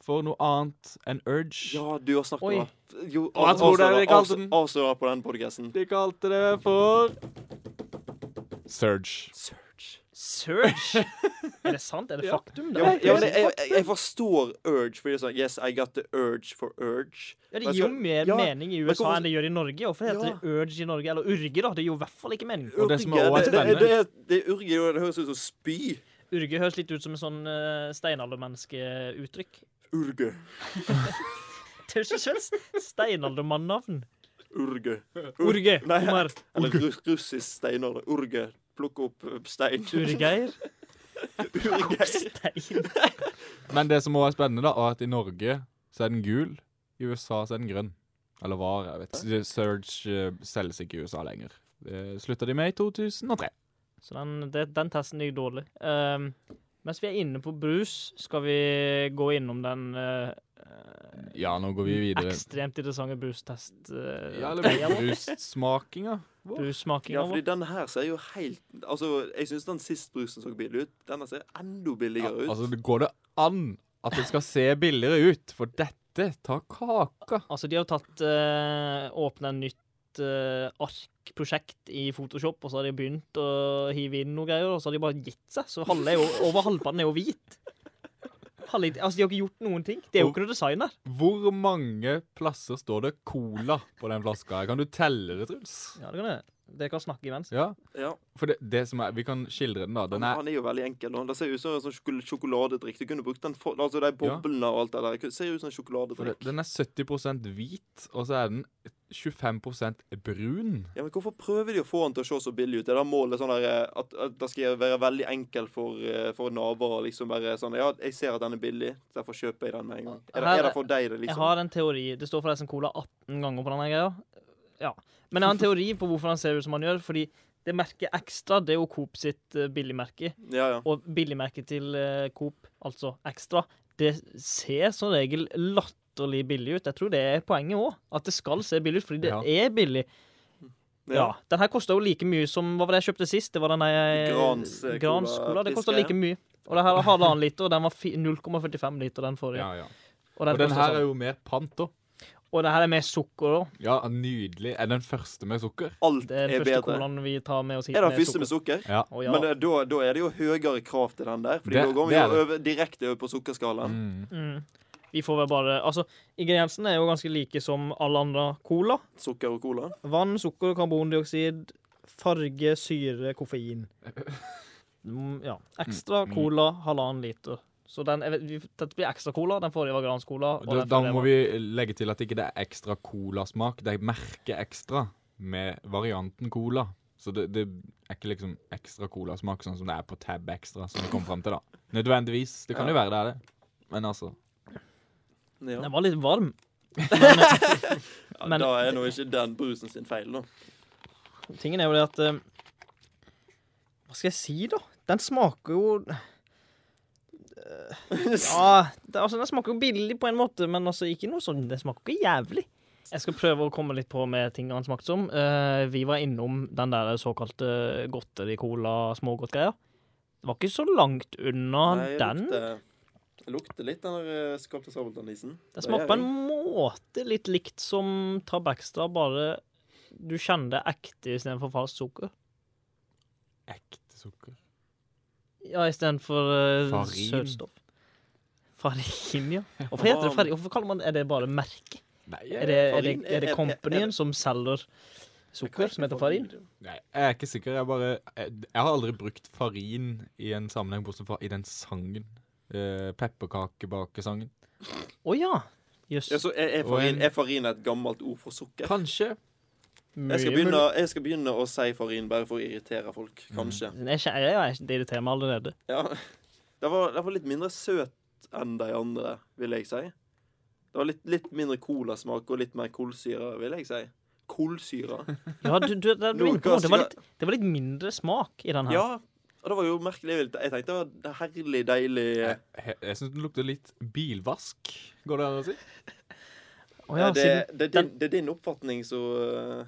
Speaker 2: for noe annet enn Urge.
Speaker 3: Ja, du har snakket
Speaker 1: Oi.
Speaker 3: med meg. Jo,
Speaker 2: Og jeg tror det er
Speaker 3: avslører-
Speaker 2: det kalte den.
Speaker 3: avs- avslører på den podcasten.
Speaker 2: De kalte det for Surge.
Speaker 3: Surge.
Speaker 1: Surge! er det sant? Er det
Speaker 2: Ja.
Speaker 1: faktum? Det
Speaker 3: Ja, men,
Speaker 1: var-
Speaker 3: ja, men jeg, jeg, jeg forstår urge, fordi det er sånn Yes, I got the urge for urge.
Speaker 1: Ja, det
Speaker 3: Men
Speaker 1: gir jo
Speaker 3: skal-
Speaker 1: mer
Speaker 3: ja,
Speaker 1: mening i USA
Speaker 3: hvorfor-
Speaker 1: enn det gjør i Norge. Hvorfor heter
Speaker 3: Ja.
Speaker 1: det urge i Norge? Eller urge, da. Det gir jo i hvert fall ikke mening.
Speaker 2: Og det som er
Speaker 3: Urge,
Speaker 2: også
Speaker 3: det, det,
Speaker 2: spennende-
Speaker 3: det, er- det er urge, og det høres ut som spy.
Speaker 1: Urge høres litt ut som en sånn uh, steinaldermenneskeuttrykk.
Speaker 3: Urge.
Speaker 1: Det er jo ikke svensk. Steinaldermann-navn.
Speaker 3: Urge.
Speaker 1: Urge.
Speaker 3: Nei,
Speaker 1: Omar.
Speaker 3: Eller ru- russisk steiner. Urge. Plukke opp ø, stein.
Speaker 1: Urgeir.
Speaker 3: Urge.
Speaker 1: Stein.
Speaker 2: Men det som også er spennende, da, er at i Norge så er den gul, i USA så er den grønn. Eller var, jeg vet ikke. Surge eh, selges ikke i USA lenger. Det slutta de med i 2003.
Speaker 1: Så den, det, den testen gikk dårlig. Ehm, mens vi er inne på brus, skal vi gå innom den eh, eh,
Speaker 2: Ja, nå går vi videre.
Speaker 1: ekstremt interessante brustest... Uh,
Speaker 2: Ja, eller brussmakinga.
Speaker 1: Brussmakinga
Speaker 3: Ja, fordi
Speaker 1: vår.
Speaker 3: den her ser jo helt Altså, jeg syns den sist brusen så billig ut. Denne ser enda
Speaker 2: Ja,
Speaker 3: billigere ut.
Speaker 2: altså, det går det an at det skal se billigere ut? For dette tar kaka.
Speaker 1: Altså, de har tatt uh, Åpna et nytt eh, arkprosjekt i Photoshop, og så har de begynt å hive inn noe greier, og så har de bare gitt seg. Så halve er jo, over halvparten er jo hvit. Halve, altså, de har ikke gjort noen ting. Det er jo ikke noe design der.
Speaker 2: Hvor mange plasser står det Cola på den flaska? her? Kan du telle det, Truls?
Speaker 1: Ja, det kan jeg. Dere kan snakke imens.
Speaker 2: Ja,
Speaker 3: ja.
Speaker 2: for det, det som er Vi kan skildre den, da. Den er
Speaker 3: Han er jo veldig enkel. da. Det ser ut som en sånn sjokol- sjokoladedrikk. Du kunne brukt den for, altså de boblene og alt det der. Det ser jo ut som en
Speaker 2: For det,
Speaker 3: sjokoladedrikk.
Speaker 2: den er 70 hvit, og så er den 25 brun.
Speaker 3: Ja, men Hvorfor prøver de å få den til å se så billig ut? Er det målet sånn der, eh, at, at det skal være veldig enkel for, eh, for naboer? å liksom bare sånn, Ja, jeg ser at den er billig, derfor kjøper jeg den med en gang. Er det, er det for deg, det,
Speaker 1: Jeg
Speaker 3: liksom?
Speaker 1: har en teori. Det står forresten Cola 18 ganger på denne greia. Ja. Men jeg har en teori på hvorfor han ser ut som han gjør. Fordi det merket Extra det er jo Coop sitt eh, billigmerke.
Speaker 3: Ja, ja.
Speaker 1: Og billigmerket til eh, Coop, altså Extra, det ser som regel latterlig billig ut. Jeg tror det er poenget òg. At det skal se billig ut, fordi det
Speaker 2: Ja.
Speaker 1: er billig. Ja. Den her kosta jo like mye som Hva var det jeg kjøpte sist? Det var den der eh,
Speaker 3: Grans, eh,
Speaker 1: Grans
Speaker 3: Cola
Speaker 1: Cola. Det kosta
Speaker 3: piske.
Speaker 1: like mye. Og det her var halvannen liter, og den var fi- 0,45 liter, den forrige.
Speaker 2: Ja, ja.
Speaker 1: Og,
Speaker 2: Og den
Speaker 1: koster
Speaker 2: her
Speaker 1: sånn.
Speaker 2: er jo mer pant, da.
Speaker 1: og det her er med sukker òg.
Speaker 2: Ja, nydelig. Er den første med sukker?
Speaker 3: Alt
Speaker 1: Det er den
Speaker 3: er
Speaker 1: første
Speaker 3: bedre.
Speaker 1: colaen vi tar med oss hit.
Speaker 3: Er det den første med sukker?
Speaker 2: Ja.
Speaker 1: Å, ja.
Speaker 3: Men eh, det, da, da er det jo høyere krav til den der. Fordi
Speaker 2: Det-
Speaker 3: da går
Speaker 2: det
Speaker 3: vi
Speaker 2: er
Speaker 3: jo
Speaker 2: det.
Speaker 3: over, direkte over på sukkerskalaen.
Speaker 2: Mm.
Speaker 1: mm. Vi får vel bare Altså, ingrediensene er jo ganske like som all andre cola.
Speaker 3: Sukker og cola.
Speaker 1: Vann, sukker, karbondioksid, farge, syre, koffein. Mm, Ja. Ekstra
Speaker 2: Mm.
Speaker 1: cola, halvannen liter. Så den, jeg vet, vi- dette blir ekstra cola. Den forrige var Grans Cola. og
Speaker 2: Da,
Speaker 1: den
Speaker 2: da
Speaker 1: forrige
Speaker 2: må
Speaker 1: var-
Speaker 2: vi legge til at ikke det er ekstra colasmak. Det er merket ekstra med varianten cola. Så det, det er ikke liksom ekstra colasmak sånn som det er på Tab Extra, som vi kom frem til, da. Nødvendigvis. Det kan jo være det er det. Men altså
Speaker 3: Ja.
Speaker 1: Den var litt varm.
Speaker 3: Ja,
Speaker 1: men-
Speaker 3: da er nå ikke den brusen sin feil, da.
Speaker 1: Tingen er jo det at eh, Hva skal jeg si, da? Den smaker jo Ja, det, altså Den smaker jo billig på en måte, men altså ikke noe sånn Den smaker ikke jævlig. Jeg skal prøve å komme litt på med ting han smakte som. Eh, vi var innom den der såkalte godteri-cola-smågodtgreia. Det var ikke så langt unna
Speaker 3: Nei, jeg
Speaker 1: den.
Speaker 3: lukter- jeg Lukter litt den der eh, Skapte Sabeltann-isen.
Speaker 1: Den smaker på en måte litt likt som Tab Extra, bare du kjenner det ekte istedenfor falskt sukker.
Speaker 2: Ekte sukker.
Speaker 1: Ja, istedenfor uh,
Speaker 2: Farin.
Speaker 1: søtstoff. Farin, ja. Hvorfor heter det farin? Hvorfor kaller man Er det bare merke?
Speaker 2: Nei,
Speaker 1: Er
Speaker 2: jeg,
Speaker 1: det, er det,
Speaker 3: farin er-
Speaker 1: er
Speaker 3: er-
Speaker 1: det
Speaker 3: er- er
Speaker 1: companyen
Speaker 3: det-
Speaker 1: som selger sukker, som heter farin?
Speaker 2: nei, jeg er ikke sikker. Jeg bare Jeg, jeg har aldri brukt farin i en sammenheng, bortsett fra i den sangen. Eh, Pepperkakebakesangen.
Speaker 1: Å ja! Jøss.
Speaker 3: Ja, så er, er,
Speaker 2: Og en-
Speaker 3: farin, er farin et gammelt ord for sukker?
Speaker 2: Kanskje.
Speaker 1: Mye Mm.
Speaker 3: Jeg skal,
Speaker 1: mulig.
Speaker 3: begynne, jeg skal begynne å si farin bare for å irritere folk, kanskje.
Speaker 1: Jeg kjenner- jeg er- Det irriterer meg allerede.
Speaker 3: Ja. Det var, det var litt mindre søt enn de andre, vil jeg si. Det var litt, litt mindre colasmak og litt mer kolsyre, vil jeg si. Kolsyre.
Speaker 1: Ja, du, du, det, du er inne på noe. Det var litt, det var litt mindre smak i den her.
Speaker 3: Ja. Og det var jo merkelig. Jeg tenkte det var det herlig deilig
Speaker 2: Jeg, jeg, jeg syns den lukter litt bilvask, går det an å si?
Speaker 1: Å ja,
Speaker 3: Eh, det,
Speaker 1: siden,
Speaker 3: det, er din, det er din oppfatning, så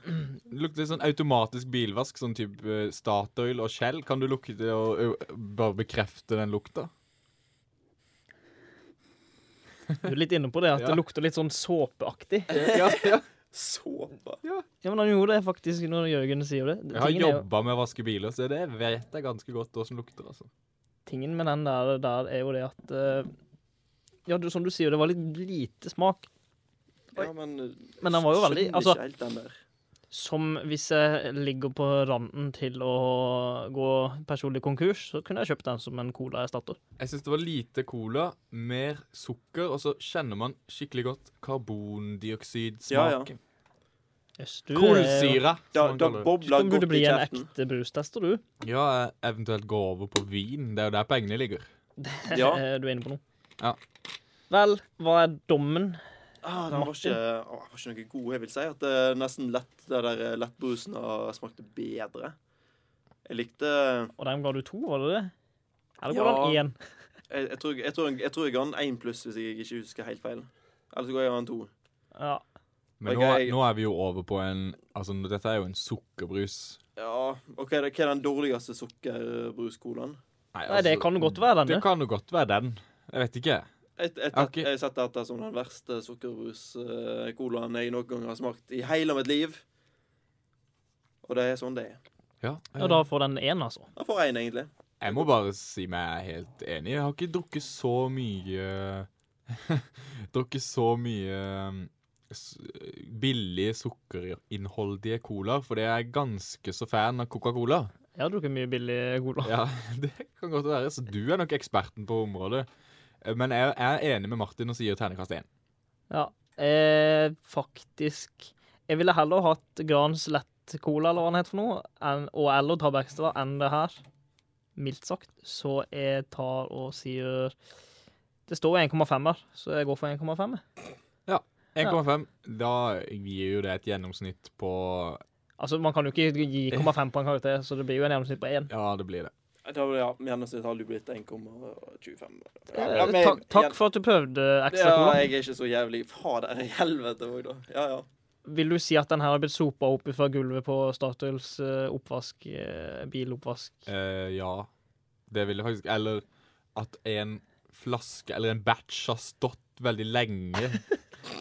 Speaker 3: eh,
Speaker 2: Det lukter litt sånn automatisk bilvask, sånn type Statoil og Shell. Kan du lukte det og ø, bare bekrefte den lukta?
Speaker 1: du er litt inne på det at
Speaker 2: Ja.
Speaker 1: det lukter litt sånn såpeaktig.
Speaker 2: Ja, ja.
Speaker 3: Såpa.
Speaker 1: Ja, men han gjorde det faktisk når Jørgen sier det.
Speaker 2: Jeg har
Speaker 1: Tingen er jo-
Speaker 2: jobba med å vaske biler, så det vet jeg ganske godt åssen lukter. altså.
Speaker 1: tingen med den der, der er jo det at eh, Ja, du, som du sier, det var litt lite smak.
Speaker 3: Ja, men
Speaker 1: Men den var jo veldig-
Speaker 3: skjønner
Speaker 1: altså-
Speaker 3: ikke helt den der.
Speaker 1: Som hvis jeg ligger på randen til å gå personlig konkurs, så kunne jeg kjøpt den som en colaerstatter.
Speaker 2: Jeg syns det var lite cola, mer sukker, og så kjenner man skikkelig godt
Speaker 3: Ja,
Speaker 2: karbondioksidsmaken.
Speaker 1: Yes, du er jo-
Speaker 2: Kolsyra,
Speaker 3: Da,
Speaker 2: som man
Speaker 3: da
Speaker 2: kaller det.
Speaker 1: Du
Speaker 3: bobler
Speaker 1: burde
Speaker 3: godt i
Speaker 1: bli en
Speaker 3: kjeften.
Speaker 1: ekte brustester, du.
Speaker 2: Ja, eventuelt gå over på vin. Det er jo der pengene ligger.
Speaker 3: Ja.
Speaker 1: Eh, Du er inne på noe.
Speaker 2: Ja.
Speaker 1: Vel, hva er dommen?
Speaker 3: Ah, den var ikke, å, den var ikke noe god. Jeg vil si at eh, nesten lett, det der eh, lettbrusen har smakte bedre. Jeg likte
Speaker 1: Og den ga du to, var det det? Eller ga
Speaker 3: Ja.
Speaker 1: den én?
Speaker 3: Jeg, jeg, tror, jeg, tror, jeg tror jeg ga den én pluss, hvis jeg ikke husker helt feil. Eller så ga jeg den to.
Speaker 1: Ja.
Speaker 2: Men
Speaker 3: Ok,
Speaker 2: nå, er-
Speaker 3: jeg-
Speaker 2: nå er vi jo over på en Altså, dette er jo en sukkerbrus.
Speaker 3: Ja, ok, Hva er den dårligste sukkerbruscolaen?
Speaker 1: Nei, det kan godt være denne.
Speaker 2: Altså, Det kan jo godt være den. Jeg vet ikke.
Speaker 3: Jeg, jeg,
Speaker 2: Ok.
Speaker 3: jeg setter dette som den verste sukkerbruscolaen jeg noen gang har smakt i hele mitt liv. Og det er sånn det er.
Speaker 2: Ja,
Speaker 1: Og da får den én, altså.
Speaker 3: Jeg får én, egentlig.
Speaker 2: Jeg må bare si meg helt enig. Jeg har ikke drukket så mye Drukket så mye um, s- billig sukkerinnholdige colaer, fordi jeg er ganske så fan av Coca-Cola.
Speaker 1: Jeg har drukket mye billig cola.
Speaker 2: Ja, det kan godt være. Så du er nok eksperten på området. Eh, Men jeg jeg er enig med Martin og sier terningkast én.
Speaker 1: Ja, eh, faktisk Jeg ville heller hatt Grans lett cola eller hva den heter for noe, enn, og eller Tab Extra enn det her. Mildt sagt. Så jeg tar og sier Det står 1,5 her, så jeg går for 1,5. jeg.
Speaker 2: 1,5. Da gir jo det et gjennomsnitt på
Speaker 1: Altså, man kan jo ikke gi 1,5 på en karakter, så det blir jo en gjennomsnitt på 1.
Speaker 2: Ja, det blir det.
Speaker 3: Da, ja, Gjennomsnitt har du blitt 1,25.
Speaker 1: Eh, takk, takk for at du prøvde ekstra
Speaker 3: Ja,
Speaker 1: cola.
Speaker 3: jeg er ikke så jævlig Fader i helvete òg, da. Ja, ja.
Speaker 1: Vil du si at den her har blitt sopa opp fra gulvet på Statoils eh, oppvask, eh, biloppvask?
Speaker 2: Eh, ja. Det ville faktisk Eller at en flaske eller en batch har stått veldig lenge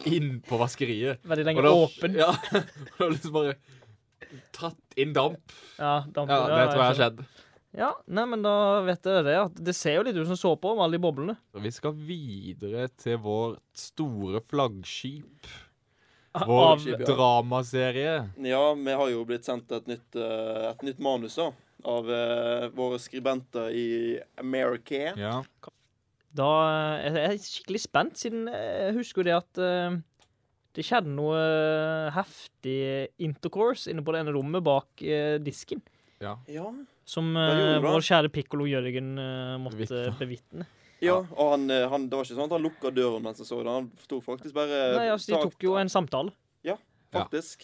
Speaker 2: inn på vaskeriet.
Speaker 1: Veldig lenge
Speaker 2: da-
Speaker 1: åpen.
Speaker 2: Ja, og da liksom bare tatt inn damp.
Speaker 1: Ja, damper,
Speaker 2: Ja, det tror jeg har skjedd.
Speaker 1: Ja, nei, men da vet dere det. At det ser jo litt ut som såpe om alle de boblene.
Speaker 2: Vi skal videre til vårt store flaggskip.
Speaker 1: Av,
Speaker 2: Vår
Speaker 3: skip, ja.
Speaker 2: dramaserie.
Speaker 3: Ja, vi har jo blitt sendt et nytt, eh, et nytt manus da, av eh, våre skribenter i America.
Speaker 2: Ja.
Speaker 1: da er jeg skikkelig spent, siden jeg husker jo det at eh, det skjedde noe eh, heftig intercourse inne på det ene rommet bak eh, disken.
Speaker 2: ja.
Speaker 3: Ja.
Speaker 1: Som
Speaker 3: gjorde
Speaker 1: eh,
Speaker 3: han?
Speaker 1: vår kjære pikkolo Jørgen eh, måtte
Speaker 2: Bevitne.
Speaker 1: bevitne.
Speaker 3: ja. Og han, eh, han, det var ikke sånn at han lukka døren mens han så det. Han tok faktisk bare
Speaker 1: Nei, altså, De
Speaker 3: tak-
Speaker 1: tok jo en samtale.
Speaker 3: Faktisk.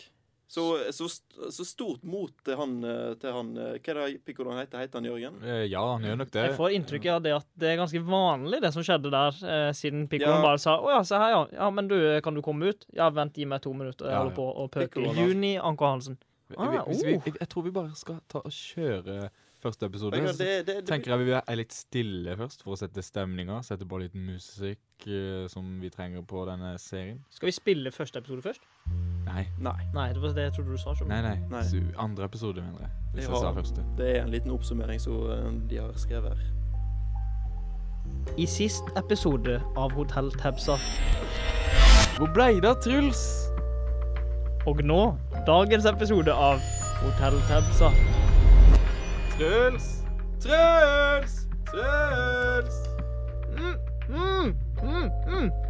Speaker 3: Så, så, st- så stort mot til han, eh, til han eh, Hva er det Piccolo heter? Heter han Jørgen?
Speaker 2: Eh, ja, han gjør nok det.
Speaker 1: Jeg får inntrykk av det at det er ganske vanlig, det som skjedde der, eh, siden pikkoloen
Speaker 3: Ja.
Speaker 1: bare sa 'Å ja, se her, ja. ja. Men du, eh, kan du komme ut?' 'Ja, vent, gi meg to minutter.' Jeg
Speaker 2: Ja,
Speaker 1: holder
Speaker 2: ja.
Speaker 1: på å pøke.
Speaker 3: Piccolo, da.
Speaker 1: Juni Anker Hansen.
Speaker 2: Vi-
Speaker 1: Ah,
Speaker 2: vi- hvis vi,
Speaker 1: oh.
Speaker 2: jeg, jeg tror vi bare skal ta og kjøre første episode.
Speaker 3: Det,
Speaker 2: Så
Speaker 3: det, det, det,
Speaker 2: tenker jeg vi er litt stille først for å sette stemninga. Sette på litt musikk eh, som vi trenger på denne serien.
Speaker 1: Skal vi spille første episode først?
Speaker 2: Nei,
Speaker 3: Nei.
Speaker 1: Nei, det var det jeg trodde du sa.
Speaker 2: nei. nei.
Speaker 3: Nei.
Speaker 2: Su- Andre episode, mener jeg. Hvis
Speaker 3: Ja.
Speaker 2: jeg sa første.
Speaker 3: Det er en liten oppsummering som eh, de har skrevet her.
Speaker 1: I sist episode av Hotell Tabsa,
Speaker 2: Hvor blei det av Truls?
Speaker 1: og nå dagens episode av Hotell Tabsa.
Speaker 2: Truls! Truls! Truls!
Speaker 1: Mm, mm, mm.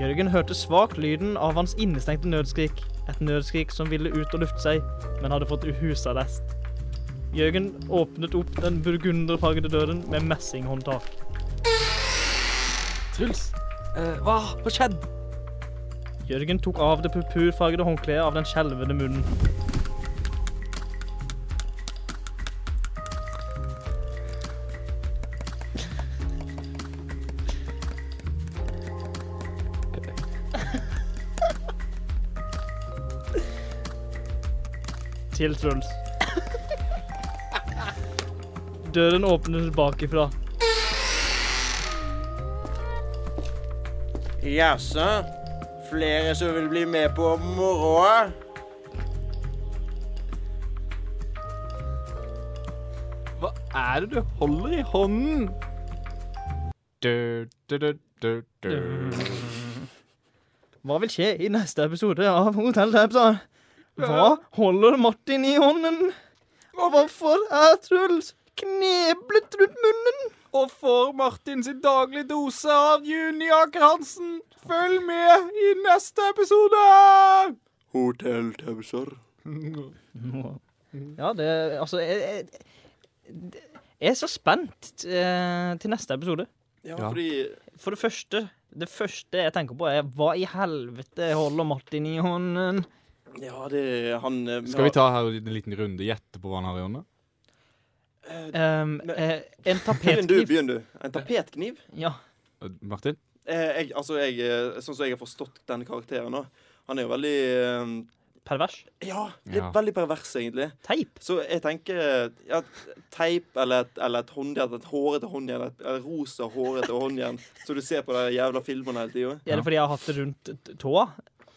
Speaker 1: Jørgen hørte svakt lyden av hans innestengte nødskrik. Et nødskrik som ville ut og lufte seg, men hadde fått husarrest. Jørgen åpnet opp den burgunderfargede døren med messinghåndtak.
Speaker 2: Truls! eh, hva har skjedd?
Speaker 1: Jørgen tok av det purpurfargede håndkleet av den skjelvende munnen. Til Truls. Døren åpner bakifra.
Speaker 3: Jaså? Flere som vil bli med på moroa?
Speaker 2: Hva er det du holder i hånden? Du, du, du, du, du.
Speaker 1: Mm. Hva vil skje i neste episode av Hotell Tabsa? Hva holder Martin i hånden? Og hvorfor er Truls kneblet rundt munnen?
Speaker 2: og får Martin sin daglige dose av Juni Aker Hansen. Følg med i neste episode!
Speaker 3: Hotell Tømser.
Speaker 1: Ja, det Altså, jeg, jeg, det- jeg er så spent eh, til neste episode.
Speaker 3: Ja,
Speaker 2: Ja.
Speaker 3: fordi
Speaker 1: For det første Det første jeg tenker på, er hva i helvete holder Martin i hånden?
Speaker 3: Ja, det er han eh,
Speaker 2: Skal vi ta her en liten runde gjette på hva han har i hånda?
Speaker 1: Ehm, eh, en
Speaker 3: Begynn du,
Speaker 1: tapetkniv.
Speaker 3: begynn du. En tapetkniv?
Speaker 1: Ja.
Speaker 2: Eh, Martin?
Speaker 3: Eh, jeg, altså, jeg, eh, sånn som jeg har forstått den karakteren nå Han er jo veldig eh,
Speaker 1: Pervers.
Speaker 3: Ja, litt
Speaker 2: Ja.
Speaker 3: veldig pervers, egentlig.
Speaker 1: Teip.
Speaker 3: Så jeg tenker ja, teip eller et, eller et håndjern, et hårete håndjern, et, et rosa hårete håndjern, som du ser på de jævla filmene hele tida.
Speaker 1: Er det fordi jeg har hatt det rundt t- tåa,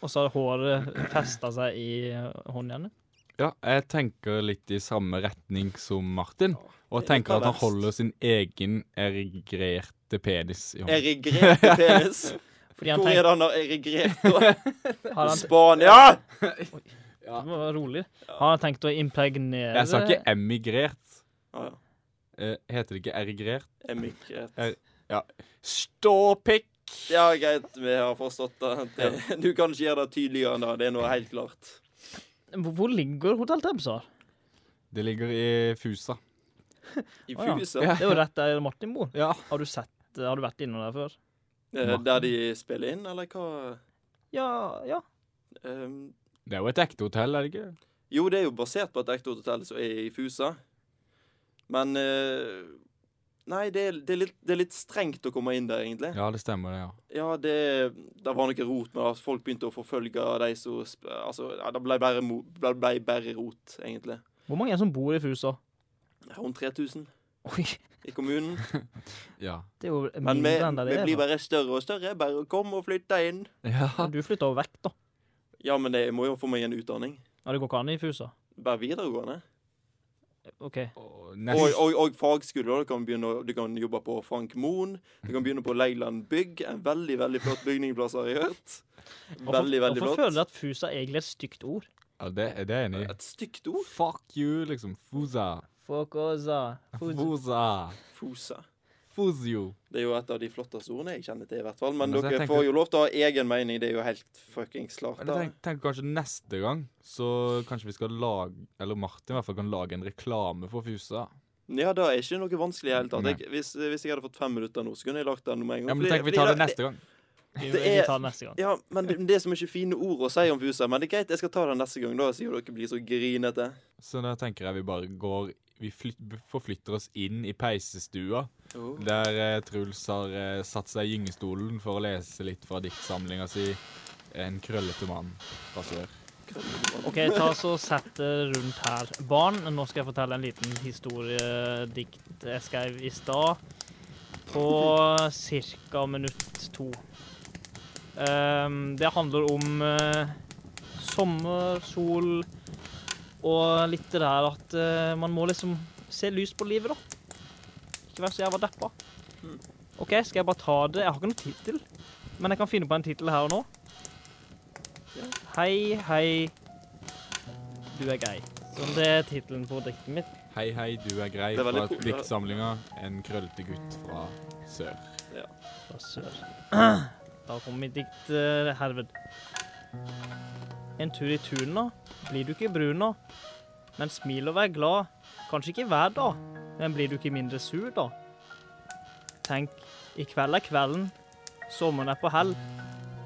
Speaker 1: og så har håret festa seg i eh, håndjernet?
Speaker 2: Ja, jeg tenker litt i samme retning som Martin. Og
Speaker 3: Det er
Speaker 2: tenker at han
Speaker 3: perverst.
Speaker 2: holder sin egen erigerte penis i hånda.
Speaker 3: Erigrerte penis.
Speaker 1: Fordi han
Speaker 3: Hvor er
Speaker 1: tenker
Speaker 3: det han har erigrert, da?
Speaker 1: har han,
Speaker 3: Spania!
Speaker 1: Du må være rolig. Har han tenkt å impregnere
Speaker 2: Jeg sa ikke emigrert.
Speaker 3: Ah, ja.
Speaker 2: Eh, heter det ikke erigrert?
Speaker 3: Emigrert.
Speaker 2: Er- Ståpikk!
Speaker 3: Ja, greit, vi har forstått det. det. Du kan ikke gjøre det tydeligere enn det. Det er noe helt klart.
Speaker 1: Hvor- Hvor ligger Hotell Tebsar?
Speaker 2: Det ligger i Fusa.
Speaker 3: I
Speaker 1: Å, ja.
Speaker 3: Fusa,
Speaker 2: Ja.
Speaker 1: Det er jo rett der Martin bor.
Speaker 2: Ja.
Speaker 1: Har du sett Har du vært innom der før?
Speaker 3: eh, der de spiller inn, eller hva?
Speaker 1: Ja, ja.
Speaker 3: Ehm,
Speaker 2: Det er jo et ekte hotell, er det ikke?
Speaker 3: jo, det er jo basert på et ekte hotell som er i Fusa. Men eh, Nei, det er, det, er litt, det er litt strengt å komme inn der, egentlig.
Speaker 2: Ja, det stemmer det, ja.
Speaker 3: Ja, det, det var noe rot med at folk begynte å forfølge de som sp- Altså, ja, det ble bare, mo- ble, ble bare rot, egentlig.
Speaker 1: Hvor mange er det som bor i Fusa?
Speaker 3: Rundt 3000.
Speaker 1: Oi,
Speaker 3: i kommunen.
Speaker 2: Ja.
Speaker 1: Det er jo
Speaker 3: Men vi,
Speaker 1: mindre enn det
Speaker 3: vi
Speaker 1: det er.
Speaker 3: blir
Speaker 1: da.
Speaker 3: bare større og større. Bare kom og flytte inn.
Speaker 1: Men Du flytter jo vekk, da.
Speaker 3: Ja, men det jeg må jo få meg en utdanning.
Speaker 1: Ja, det går ikke an i Fusa.
Speaker 3: Bare videregående.
Speaker 1: OK.
Speaker 2: Og
Speaker 3: Og,
Speaker 2: nest-
Speaker 3: og, og fagskole. Du kan, begynne, å- du kan jobbe på Frank Moen. Du kan begynne på Leiland Bygg. En veldig veldig flott bygningplass, har jeg hørt. Veldig, veldig
Speaker 1: Hvorfor føler
Speaker 3: flott.
Speaker 1: du at Fusa egentlig er et stygt ord?
Speaker 2: ja, det, det er jeg enig i.
Speaker 3: Et stygt ord.
Speaker 2: Uh, Fuck you, liksom. Fusa.
Speaker 1: Fokosa.
Speaker 2: Fusa.
Speaker 3: Fosa.
Speaker 2: Fuzio.
Speaker 3: Det er jo et av de flotteste ordene jeg kjenner til, i hvert fall. Men
Speaker 2: Men altså,
Speaker 3: dere
Speaker 2: jeg tenkte-
Speaker 3: får jo lov til å ha egen mening. Det er jo helt fuckings klart.
Speaker 2: Men
Speaker 3: da.
Speaker 2: jeg tenk, tenker kanskje neste gang så kanskje vi skal lage Eller Martin i hvert fall kan lage en reklame for Fusa.
Speaker 3: Ja, det er ikke noe vanskelig i det hele tatt.
Speaker 2: Nei.
Speaker 3: Jeg, hvis, hvis jeg hadde fått fem minutter nå, så kunne jeg lagt den med en gang.
Speaker 2: Ja, men
Speaker 3: Fordi-
Speaker 2: tenk vi
Speaker 3: fordi
Speaker 2: tar det
Speaker 3: da-
Speaker 2: neste gang.
Speaker 1: Vi
Speaker 3: Det
Speaker 1: vi
Speaker 3: er-
Speaker 1: tar det neste gang.
Speaker 3: Ja, men det, det er så mye fine ord å si om Fusa. Men det er greit, jeg skal ta den neste gang, da, siden dere blir så grinete.
Speaker 2: Så da tenker jeg vi bare går Vi flyt, forflytter oss inn i peisestua,
Speaker 3: Oh.
Speaker 2: der eh, Truls har eh, satt seg i gyngestolen for å lese litt fra diktsamlinga si 'En krøllete mann' fra sør.
Speaker 1: OK, ta så sett det rundt her. Barn, nå skal jeg fortelle en liten historiedikt jeg skrev i stad. På ca. minutt to. Ehm, det handler om eh, sommer, sol og litt det der at eh, man må liksom se lyst på livet, da. Ikke være så jævla deppa. OK, skal jeg bare ta det? Jeg har ikke noen tittel, men jeg kan finne på en tittel her og nå. Hei, hei, du er grei. Så det er tittelen på diktet mitt.
Speaker 2: Hei, hei, du er grei
Speaker 3: Det er
Speaker 2: fra
Speaker 3: veldig cool.
Speaker 2: diktsamlinga 'En krøllete gutt fra sør'.
Speaker 1: Fra sør. Da kommer mitt dikt eh, herved. En tur i tuna blir du ikke brun av. Men smil og vær glad. Kanskje ikke hver dag, men blir du ikke mindre sur da? Tenk, i kveld er kvelden. Sommeren er på hell.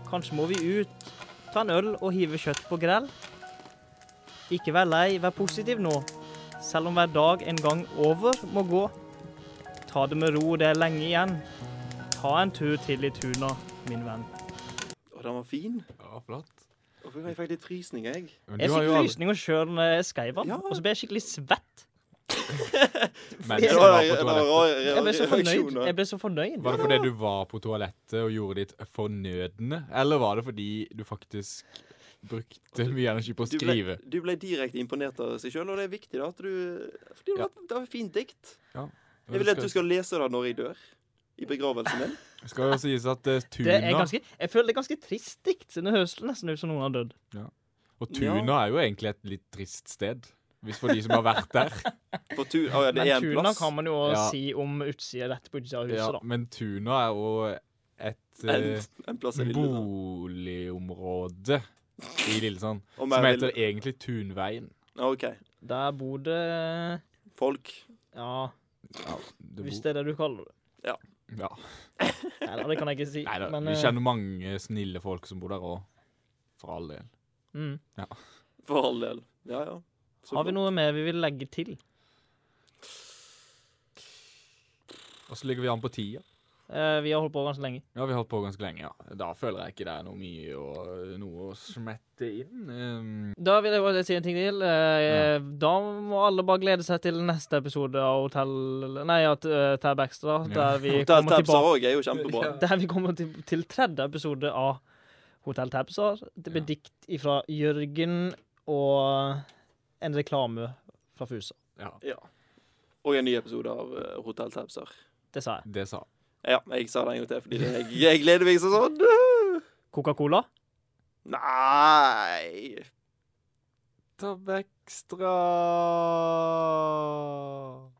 Speaker 1: Kanskje må vi ut, ta en øl og hive kjøtt på grell. Ikke vær lei, vær positiv nå. Selv om hver dag en gang over må gå. Ta det med ro, det er lenge igjen. Ta en tur til i tuna, min venn.
Speaker 3: Og den var fin.
Speaker 2: Ja, flott.
Speaker 3: Og jeg fikk litt frysning, jeg.
Speaker 2: Men
Speaker 1: Jeg
Speaker 2: du har
Speaker 1: fikk
Speaker 2: jo aldri-
Speaker 1: frysninger sjøl når jeg skrev den,
Speaker 3: Ja.
Speaker 1: eh, og så ble jeg skikkelig svett.
Speaker 2: Men
Speaker 3: Det
Speaker 2: du
Speaker 3: var-
Speaker 2: var på
Speaker 3: det var
Speaker 2: toalettet.
Speaker 3: rar
Speaker 1: Jeg ble så fornøyd.
Speaker 3: reaksjoner.
Speaker 1: Jeg ble så fornøyd.
Speaker 2: Var det fordi du var på toalettet og gjorde ditt fornødne, eller var det fordi du faktisk brukte mye energi på å
Speaker 3: Du ble,
Speaker 2: skrive?
Speaker 3: du ble direkte imponert av seg sjøl, og det er viktig, da. At du, fordi det
Speaker 2: Ja.
Speaker 3: var- det var et fint dikt. Jeg vil at du skal lese det når jeg dør. I begravelsen min.
Speaker 2: Skal jo sies at eh,
Speaker 1: Det er
Speaker 2: tuna
Speaker 1: ganske, jeg føler det er ganske trist dikt, siden det høres nesten ut som noen har dødd.
Speaker 2: Og tuna er jo egentlig et litt trist sted. Hvis for de som har vært der.
Speaker 3: På tu Å ja, det
Speaker 1: Men
Speaker 3: er en
Speaker 1: tuna
Speaker 3: plass.
Speaker 1: kan man jo
Speaker 2: Ja.
Speaker 1: si om utsida rett på utsida av
Speaker 2: Ja,
Speaker 1: huset, da.
Speaker 2: men tuna er jo et eh,
Speaker 3: En, en plass i Lillesand.
Speaker 2: boligområde i Lillesand
Speaker 3: Og mer
Speaker 2: som
Speaker 3: vil-
Speaker 2: heter egentlig Tunveien.
Speaker 3: Ja, OK.
Speaker 1: Der bor det
Speaker 3: Folk.
Speaker 1: Ja,
Speaker 2: Ja, det
Speaker 1: hvis
Speaker 2: bor-
Speaker 1: det er det du kaller det.
Speaker 2: ja.
Speaker 1: Nei da, det kan jeg ikke si.
Speaker 2: Nei da,
Speaker 1: men,
Speaker 2: vi
Speaker 1: eh,
Speaker 2: kjenner mange snille folk som bor der òg. For all del.
Speaker 1: mm.
Speaker 3: For all del. Ja, ja. Så
Speaker 1: Har vi
Speaker 3: flott.
Speaker 1: noe mer vi vil legge til?
Speaker 2: Og så ligger vi an på tida.
Speaker 1: Eh, vi har holdt på ganske lenge.
Speaker 2: Ja, vi har holdt på ganske lenge, ja. Da føler jeg ikke det er noe mye å, noe å smette inn. Um,
Speaker 1: Da vil jeg bare si en ting til. Eh, Da må alle bare glede seg til neste episode av Hotell Nei, at eh, Tab Extra.
Speaker 2: Ja.
Speaker 1: Der vi
Speaker 3: Hotell
Speaker 1: kommer
Speaker 3: Tabsa
Speaker 1: tilbake
Speaker 3: òg er jo kjempebra.
Speaker 1: Der vi kommer til, til tredje episode av Hotell Tabsa. Det blir
Speaker 2: Ja.
Speaker 1: dikt ifra Jørgen og en reklame fra Fusa.
Speaker 2: ja,
Speaker 3: Og en ny episode av eh, Hotell Tabsar.
Speaker 1: Det sa jeg.
Speaker 2: det sa
Speaker 3: Ja, jeg sa det en gang til, fordi jeg, jeg gleder meg sånn sånn.
Speaker 1: Coca-Cola.
Speaker 3: Nei
Speaker 2: Tab ekstra.